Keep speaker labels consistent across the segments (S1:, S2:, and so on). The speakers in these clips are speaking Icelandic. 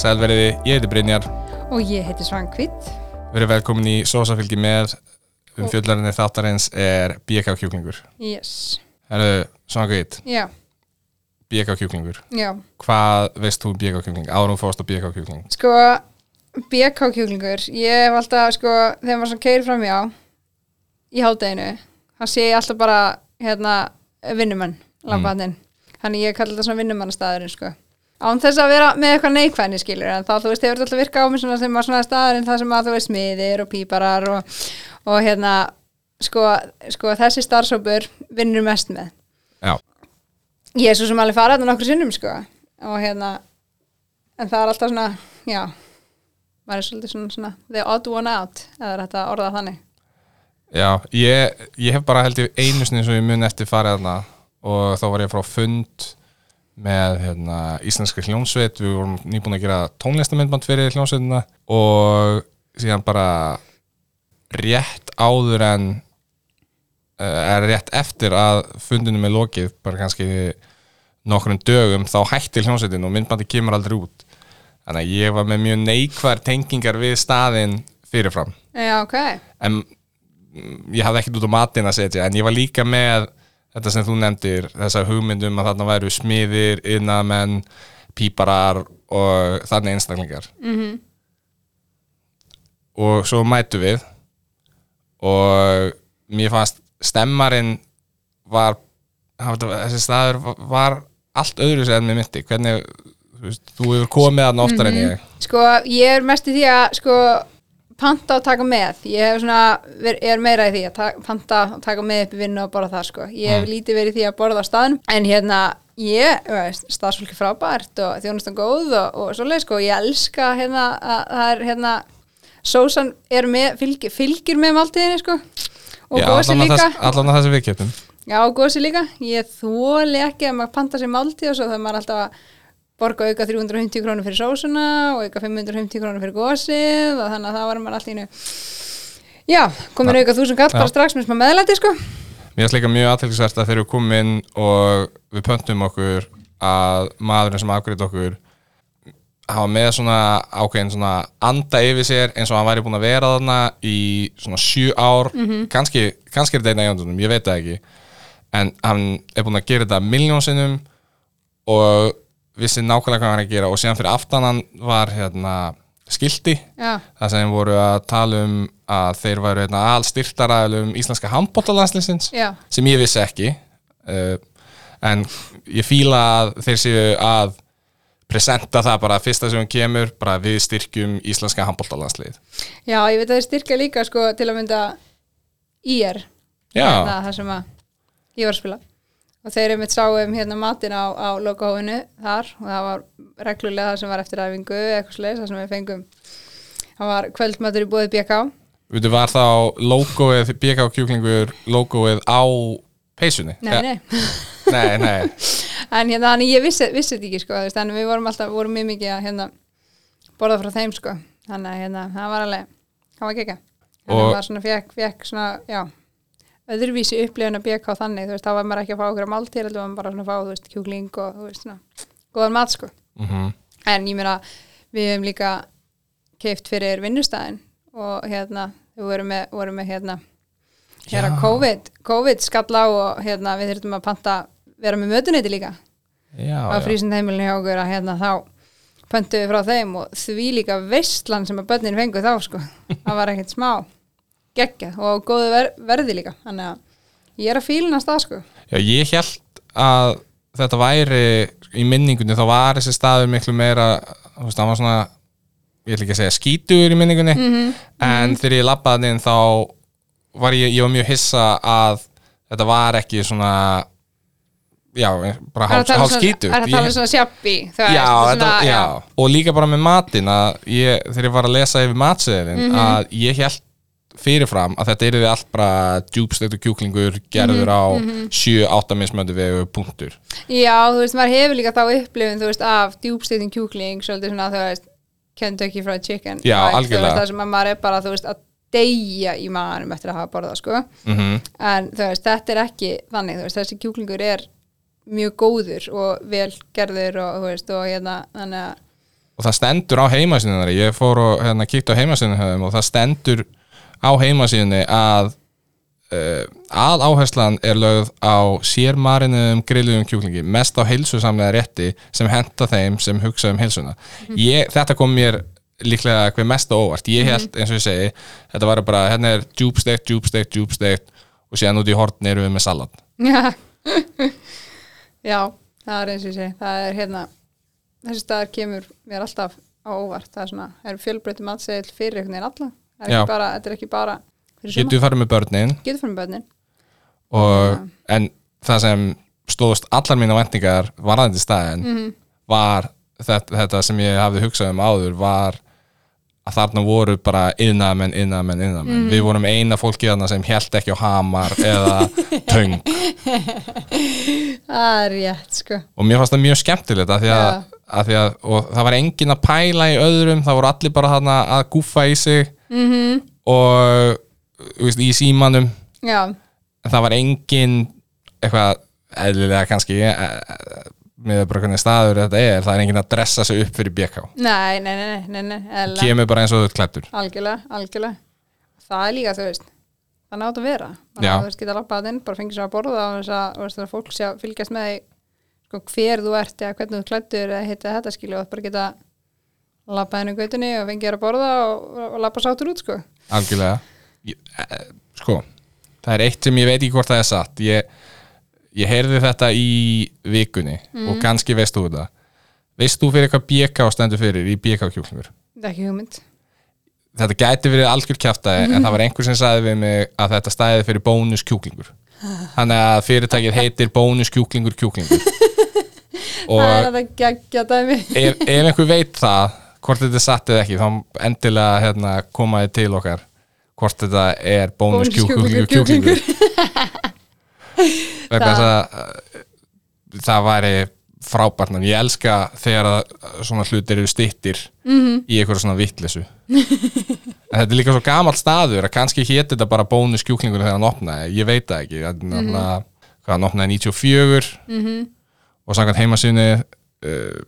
S1: Sælveriði, ég heiti Brynjar,
S2: Og ég heiti Svangvitt.
S1: verið velkomin í Sósafylgi með umfjöllarinni þáttarins er BK kjúklingur.
S2: Yes.
S1: Herðu, svona gæt,
S2: Já,
S1: BK kjúklingur.
S2: já.
S1: Hvað veist þú um BK kjúkling? Árum fórst á BK kjúkling.
S2: Sko, BK kjúklingur, ég hef alltaf, sko, þegar maður svona keiri framjá í hádeginu, þá sé ég alltaf bara, hérna, vinnumann, lambaðnin. Þannig ég kalli þetta svona vinnumannastæðurinn, sko. Án þess að vera með eitthvað neikvæðni skilur, en þá, þú veist, hefur þetta alltaf virkað á mig svona sem var svona staðurinn, það sem að þú veist smiðir og píparar og, og hérna, sko, sko, þessi starfsópur vinnur mest með.
S1: Já,
S2: ég er svo sem alveg farið þetta nokkur sinnum sko og hérna en það er alltaf svona, já maður er svolítið svona, svona the odd one out eða er þetta orðað þannig
S1: já, ég, ég hef bara held ég einu sinni sem ég mun eftir farið þarna og þá var ég frá fund með hérna, íslenska hljómsveit, við vorum nýbúin að gera tónlistamindband fyrir hljómsveitina og síðan bara rétt áður en eh, eða rétt eftir að fundunum er lokið bara kannski nokkrum dögum þá hættir hljómsveitin og myndbandi kemur aldrei út þannig að ég var með mjög neikvar tengingar við staðinn fyrirfram
S2: já, ok,
S1: en mm, ég hafði ekkert út á matinn að setja en ég var líka með þetta sem þú nefndir þessa hugmyndum að þarna væru smiðir, innamenn píparar og þannig einstaklingar -hmm.
S2: Mhm.
S1: og svo mætu við og mér fannst stemmarinn var hann- þessi staður var- var allt öðru sem mér myndi hvernig, þú, veist, þú hefur komið að oftar en ég
S2: sko ég er mest í því að sko panta og taka með ég hef svona, ver- er meira í því að ta- panta og taka með upp í vinnu og borða það sko ég
S1: Mm.
S2: hef lítið verið í því að borða á staðin en hérna, ég, þú veist, starfsfólki frábært og þjónustan góð og, og svoleið sko, ég elska hérna að það er hérna sósan er með, fylgir, fylgir með máltíðinni sko og
S1: Já,
S2: gósi
S1: allan að
S2: líka
S1: þess- allan að þessi við getum
S2: Já, og gósi líka. Ég þóli ekki að maður panta sér máltíð og svo það maður alltaf að borga auka 350 krónur fyrir sósuna og auka 550 krónur fyrir gósið og þannig að það var maður alltaf innu. Já, komin auka 1000 kall bara strax með smá meðlæti, sko.
S1: Mér finnst líka mjög aðtilsvært að þegar við komum inn og við pöntum okkur að maðurinn sem afgreitt okkur hafa með svona ákveðin svona anda yfir sér eins og hann væri búin að vera þarna í svona sjö ár kannski, kannski er þetta eina í öndunum, ég veit það ekki en hann er búin að gera þetta miljónsinnum og vissi nákvæmlega hvað hann er að gera og síðan fyrir aftan hann var hérna skilti
S2: Já,
S1: það sem voru að tala um að þeir væru hérna, alstyrtaræðilum íslenska handbóttalandslinsins
S2: já,
S1: sem ég vissi ekki uh, en ég fíla að þeir séu að presenta það bara fyrsta sem hún kemur bara við styrkjum íslenska handbóltalandslið
S2: já, ég veit að þeir styrka líka, sko, til að mynda IR,
S1: Já,
S2: það, það sem að ég var að spila. Og þeir einmitt sáum hérna matinn á, á lokahófinu þar og það var reglulega það sem var eftir æfingu eitthvað sliðis, það sem við fengum. Það var kvöldmatur í búið BK.
S1: veitu var þá logoið, BK kjúklingur logoið á peysunni
S2: Nei,
S1: Ja,
S2: nei.
S1: nei, nei.
S2: en hérna, þannig ég vissi, vissi þetta ekki, sko, þú veist, þannig við vorum alltaf, vorum mjög mikið að, hérna, borða frá þeim, sko, þannig að, hérna, það var alveg, það var kekka. Þannig
S1: Og-
S2: að maður svona fekk, fekk svona, já, öðruvísi upplifun að BK þannig, þú veist, þá var maður ekki að fá okkur að máltíð, heldur var maður bara svona að fá, þú veist, kjúkling og, þú veist, svona, góðan mat, sko.
S1: Mm
S2: En ég meina, við hefum líka keift fyrir vinnustæðin og hérna, við vorum með, vorum með hérna, hérna
S1: Já.
S2: COVID, COVID skall á og hérna, við þurftum að panta, vera með mötuneyti líka á
S1: Já, já.
S2: frísund heimilinu hjá okkur að hérna þá pöntuðu frá þeim og því líka veistlan sem að börnin fengu þá sko, það var ekkert smá geggjað og á góðu ver verði líka, þannig að ég er að fílnast það sko.
S1: Já, ég held að þetta væri í minningunni, þá var þessi staður miklu meira, þú veist, það var svona ég ætla ekki að segja skítur í minningunni
S2: Mhm,
S1: en þegar ég labbaði inn þá var ég, ég var mjög hissa að þetta var ekki svona já, bara
S2: Er að
S1: hálf,
S2: tala um
S1: hálf
S2: svona-
S1: skítur
S2: Er að tala um svona sjabbi, þú
S1: já,
S2: veist,
S1: þetta, já. og líka bara með matinn að ég, þegar ég var að lesa yfir matseðilinn að ég held fyrirfram að þetta yrði allt bara djúbstektur kjúklingur gerður á 7-8 mismöndu vegu punktur
S2: Já, þú veist, maður hefur líka þá upplifun, þú veist, af djúbstýttin kjúkling, svolítið svona, þú veist, Kentucky Fried Chicken.
S1: Já,
S2: vibes, Þú
S1: algjörlega.
S2: veist, það sem að maður er bara, þú veist, að deyja í maðurum eftir að hafa borðað, sko.
S1: mm
S2: En þú veist, þetta er ekki þannig, þú veist, þessi kjúklingur er mjög góður og vel gerður og, þú veist, og hérna, þannig að,
S1: og og það stendur á heimasíðinu þeirra ég fór og hérna kíkti á heimasíðinu þeirra og það stendur á heimasíðinu að uh, að áherslan er lögð á sérmarinuðum grilluðum kjúklingi mest á heilsusamlega rétti sem henta þeim sem hugsa um heilsuna ég, þetta kom mér líklega hver mest á óvart ég held eins og ég segi þetta var bara hérna er djúbsteikt, djúbsteikt, djúbsteikt og síðan út í hortn eru við með salat
S2: Já. Já, það er eins og ég segi það er hérna þessi staðar kemur mér alltaf á óvart það er svona, það eru fjölbreytum aðsegil fyrir einhvern veginn alla, það er
S1: Já.
S2: ekki bara, þetta er ekki bara fyrir suma,
S1: getur við farið með börnin
S2: getur fyrir bönnin
S1: og, en það sem stóðst allar mínu vendingar varðandi staðin var þetta, þetta sem ég hafði hugsað um áður var að þarna voru bara innamenn, innamenn, innamenn við vorum eina fólki þarna sem held ekki á hamar eða töng
S2: það er rétt, sko
S1: og mér fannst það mjög skemmtilegt að því að,
S2: Já.
S1: að því að og það var engin að pæla í öðrum það voru allir bara þarna að gúffa í sig mm -hmm. og þú veist, í símanum
S2: Já,
S1: en það var engin eitthvað eðlilega kannski eh, eh, með bara hvernig staður þetta er það er engin að dressa sig upp fyrir BK
S2: nei, nei, nei, nei, nei, nei eðlilega.
S1: kemur bara eins og þú ert klættur
S2: algjörlega, algjörlega það er líka, þú veist það nátt að vera, bara,
S1: Já.
S2: þú veist, geta labbað inn bara fengið sér að borða og þess að, þú veist, að fólk sé að fylgjast með því sko, hver þú ert eða hvernig þú klættur eða hitta þetta skilju og bara geta labbað inn í gautunni og fengið sér að borða og, og labba sáttur út, sko
S1: algjörlega ég, eh, sko, það er eitt sem ég veit ekki hvort það er satt ég, ég heyrði þetta í vikunni og kannski veist þú þetta veist þú fyrir hvað BK stendur fyrir í BK kjúklingur
S2: það er ekki hugmynd
S1: þetta gæti verið algjör kjaftaði en það var einhver sem sagði við mig að þetta stæði fyrir bónus kjúklingur þannig að fyrirtækið heitir bónus kjúklingur kjúklingur
S2: það er
S1: og
S2: að það geggja dæmi
S1: ef, ef einhver veit það hvort þetta er satt eða ekki þá endilega hérna, komaði til okkar hvort þetta er bónus kjúklingur kjúklingur vegna þess að uh, það væri frábært en ég elska þegar að uh, svona hlutir eru stittir -hmm. í einhverju svona vittlesu En þetta er líka svo gamalt staður að kannski héti þetta bara bónus kjúklingur þegar hann opnaði, ég veit það ekki mm -hmm. hvað hann opnaði 94 -hmm. og samkvæmt heimasíðunni uh,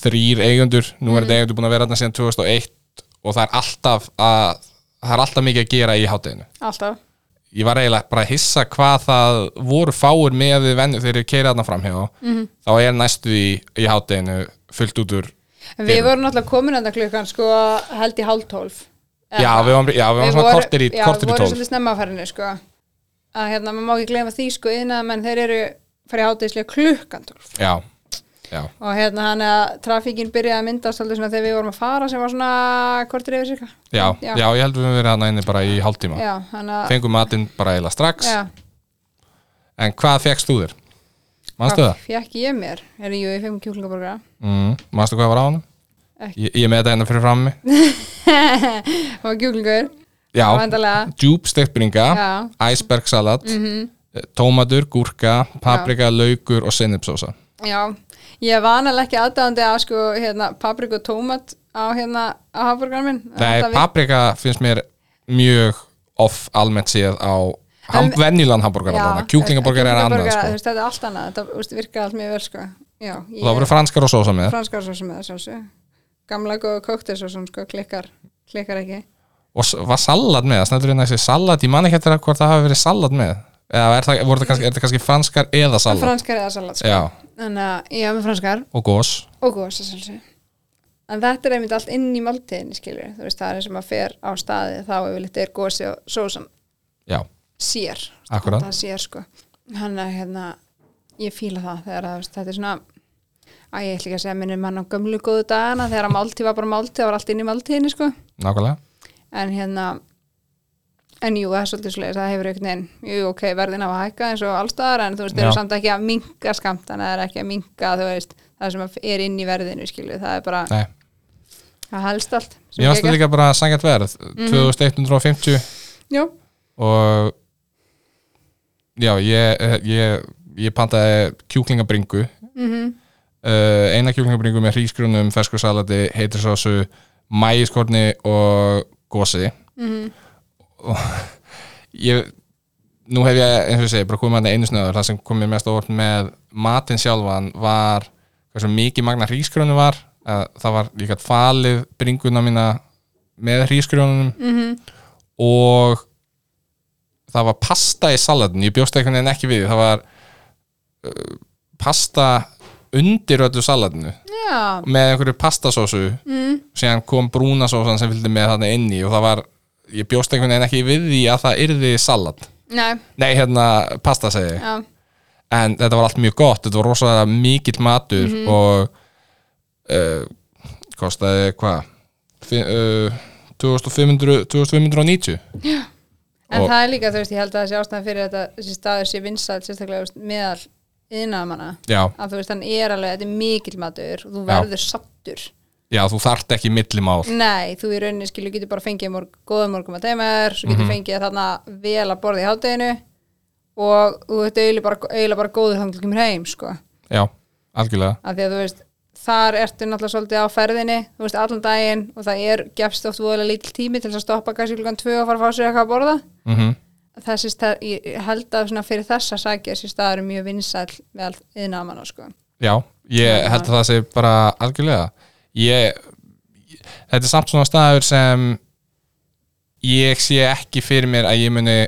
S1: þrýr eigendur, nú er þetta eigendur búin að vera þarna síðan 2001 og það er alltaf að, það er alltaf mikið að gera í hátteginu
S2: alltaf,
S1: ég var eiginlega bara að hissa hvað það voru fáir með við vennu þegar ég keira þarna framhjá mm
S2: Mhm.
S1: -hmm. þá er næstu í, í hátteginu fullt út úr
S2: en við vorum náttúrulega komin enda klukkan, sko, held í hálftólf
S1: já, við varum, já, við varum svona kortir í,
S2: já,
S1: kortir í
S2: voru
S1: tólf
S2: svolítið snemma á ferðinni sko. að hérna, maður má ekki gleyma því sko, innan, menn þeir eru farið hátíðislega klukkan 12
S1: já, já,
S2: og hérna hann að trafíkin byrjaði að myndast alltaf svona þegar við vorum að fara sem var svona kortir yfir cirka
S1: já, já, ég held við höfum verið þarna inni bara í hálftíma
S2: já, hann að
S1: fengum matinn bara eiginlega strax
S2: já,
S1: en hvað fekkst þú þér? manstu það?
S2: fekk ég mér er jú, ég fekk mér kjúklingaborgara
S1: Mm, manstu hvað var á honum?
S2: Ekki.
S1: Ég, ég er með þetta hérna fyrir frammi
S2: það var kjúklingur,
S1: já,
S2: vandalega
S1: djúb stektbringa
S2: Já. Mhm.
S1: æsbergsalat mm tómatur, gúrka, paprika, laukur og sennipsósa
S2: Já, ég var náttúrulega ekki aðdáðandi að sko, hérna, paprika og tómat á hérna, á hafburgaran minn
S1: Nei,
S2: Þetta við-
S1: paprika finnst mér mjög off almennt séð á ham, venjulegan hamburgar allavega, kjúklingaborgar er annað
S2: kjúklingaborgara,
S1: sko.
S2: þú veist, þetta er allt annað, þetta úst, virkar allt mjög vel sko. já,
S1: og það voru franskar og sósa með
S2: franskar svo sem eða sjálfsög gamla góðu kóktir svo sem sko, klikkar klikkar ekki,
S1: og s- var salat með, það snættur inn að þessi salat ég man ekki eftir að hvort það hafi verið salat með eða er það, voru það kannski, er það kannski franskar eða salat
S2: franskar eða salat sko.
S1: já,
S2: þannig að ég hef með franskar
S1: og gós
S2: og góðs að sjálfsög en þetta er einmitt allt inn í máltíðinni skilur þú veist, það er eins og maður fer á staði þá hefur litið er gósi og sósan
S1: já,
S2: sér
S1: Akkúrat.
S2: það sér sko hann er hérna, ég fíla það þegar að, þú veist, þetta er svona að ég ætla ekki að segja minni mann á gömlu góðu dagana þegar að máltíð var bara máltíð, það var allt inn í máltíðinni sko
S1: nákvæmlega
S2: en hérna en jú, það er svolítið svolítið, það hefur einhvern veginn jú, ok, verðin á að hækka eins og allstaðar en þú veist, þeir
S1: Já.
S2: eru samt ekki að minka skamtana það er ekki að minka, þú veist, það sem að er inn í verðinu, skilju, það er bara
S1: Nei.
S2: það helst allt sem Mhm.
S1: ég varst
S2: gekk.
S1: líka bara að sangja verð 2150
S2: Jú,
S1: og já, ég ég, ég pantaði kjúklingabringu uh, eina kjúklingabringu með hrísgrunum, fersku salati, heitrisósu mægiskorni og gósi og ég nú hef ég, eins og ég segi, bara komið með þetta einu snöður það sem kom mér mest á orð með matinn sjálfan var hversu mikið magna hrísgrunum var að að það var, ég gætt falið bringuna mína með hrískrjónunum -hmm. og það var pasta í salatin, ég bjóst einhvern veginn ekki við það var uh, pasta undir öllu salatinu
S2: Já,
S1: með einhverju pastasósu mm. síðan kom brúnasósan sem fylgdi með þarna inni og það var, ég bjóst einhvern veginn ekki við því að það yrði salat
S2: nei,
S1: nei, hérna, pasta segi ég
S2: já,
S1: en þetta var allt mjög gott, þetta var rosalega mikill matur og uh, kostaði hvað Fi- uh, 2500 2590
S2: en
S1: Og-
S2: það er líka, þú veist, ég held að þessi ástæðan fyrir þetta, þessi staður sé vinsæl, sérstaklega, þú veist, meðal yðnaðamanna,
S1: já,
S2: að þú veist, hann er alveg, þetta er mikill matur og þú
S1: Já.
S2: verður sattur.
S1: já, þú þarft ekki millimál
S2: Nei, þú í rauninni skilur getur bara fengið morg, góðum morgum að teimur, svo
S1: Mhm.
S2: getur fengið þarna vel að borða í hátteginu og þú veit eiginlega bara, eiginlega bara góður þannig til kemur heim, sko.
S1: já, algjörlega
S2: Af því að þú veist, þar ertu náttúrulega svolítið á ferðinni, þú veist, allan daginn og það er gefst oft voðalega lítil tími til þess að stoppa kannski klukkan tvö og fara að fá sér eitthvað að borða.
S1: mm
S2: Þessi, stað- ég ég held að svona fyrir þessa sakir þessi staður er mjög vinsæll með allt yðnamanna, sko.
S1: já, ég held að það sé bara algjörlega ég, þetta er samt svona staður sem ég sé ekki fyrir mér að ég muni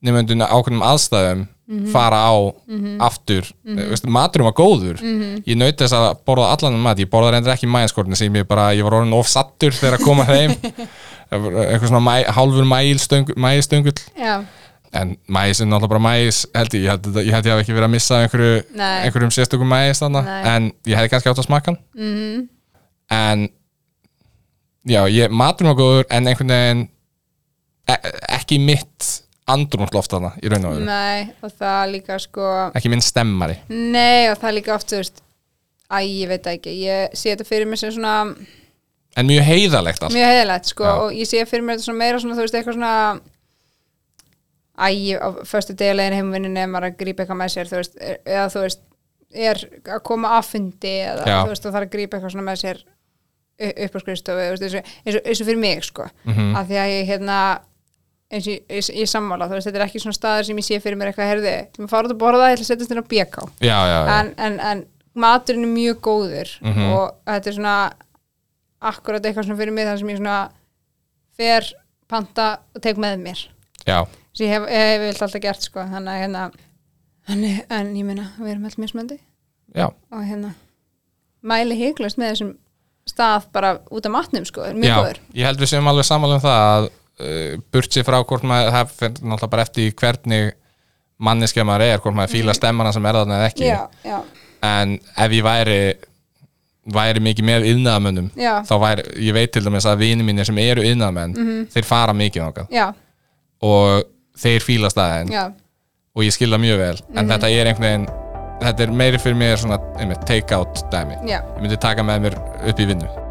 S1: nefndun ákveðnum aðstæðum fara á aftur mm -hmm. maturum var góður ég naut þess að borða allan um mat ég borða reyndar ekki mæjanskorni sem ég bara ég var orðin of sattur þegar að koma heim eitthvað svona mæ, hálfur mælstöng, mæjastöngull
S2: Já,
S1: en mæs er náttúrulega bara mæs held ég, ég held, þetta- ég held ég hafi ekki verið að missa af einhverju,
S2: Nei.
S1: einhverjum sérstökum mæs þarna
S2: Nei. Mhm.
S1: en ég hefði kannski átt að smaka hann mm -hmm. en já, ég, maturinn var góður en einhvern veginn e ekki mitt andrúnsloft þarna í raun og veru,
S2: nei, og það líka, sko,
S1: ekki minn stemmari
S2: Nei og það er líka oft þú veist Æ, ég veit það ekki, ég sé þetta fyrir mér sem svona
S1: en mjög heiðalegt allt
S2: mjög heiðilegt sko
S1: Já.
S2: og ég sé fyrir mér þetta svona meira svona þú veist eitthvað svona Æ, ég- á föstu degilegin heimvinninni ef maður er að grípa eitthvað með sér þú veist, e- eða þú veist er að koma af fundi eða
S1: Já.
S2: þú veist og það er að grípa eitthvað svona með sér u- upp á skrifstofu þú veist, eins, og, eins, og, eins og fyrir mig sko
S1: Mhm.
S2: -hmm. af því að ég hérna eins og ég, ég, ég sammála, þú veist, þetta er ekki svona staður sem ég sé fyrir mér eitthvað, herði, þú maður fara út að borða ég ætla að setjast þér á BK
S1: já, já, já, Mhm.
S2: en, en, en maturinn er mjög góður og þetta er svona akkurat eitthvað svona fyrir mig þar sem ég svona fer, panta og tek með mér
S1: já,
S2: sem ég hef, hef, hef alltaf gert sko þannig að hérna en, en ég meina, við erum alltaf mismöndi
S1: já,
S2: og hérna mæli heiklust með þessum stað bara út af matnum sko, er mjög
S1: já.
S2: góður
S1: ég held við séum alveg sammála um það að uh, burt sér frá hvort maður það fer náttúrulega bara eftir í hvernig manneskja maður er, hvort maður fíla stemmana sem er þarna eða ekki
S2: Mhm. já, já,
S1: en ef ég væri væri mikið með yðnaðamönnum
S2: Já.
S1: þá væri, ég veit til dæmis að vini mínir sem eru yðnaðamenn,
S2: Mhm.
S1: þeir fara mikið þangað
S2: já,
S1: og þeir fíla staðin
S2: já, Mhm.
S1: og ég skilða mjög vel, en þetta er einhvern veginn þetta er meiri fyrir mér svona einmitt, take out dæmi,
S2: Já.
S1: ég myndi taka með mér upp í vinnu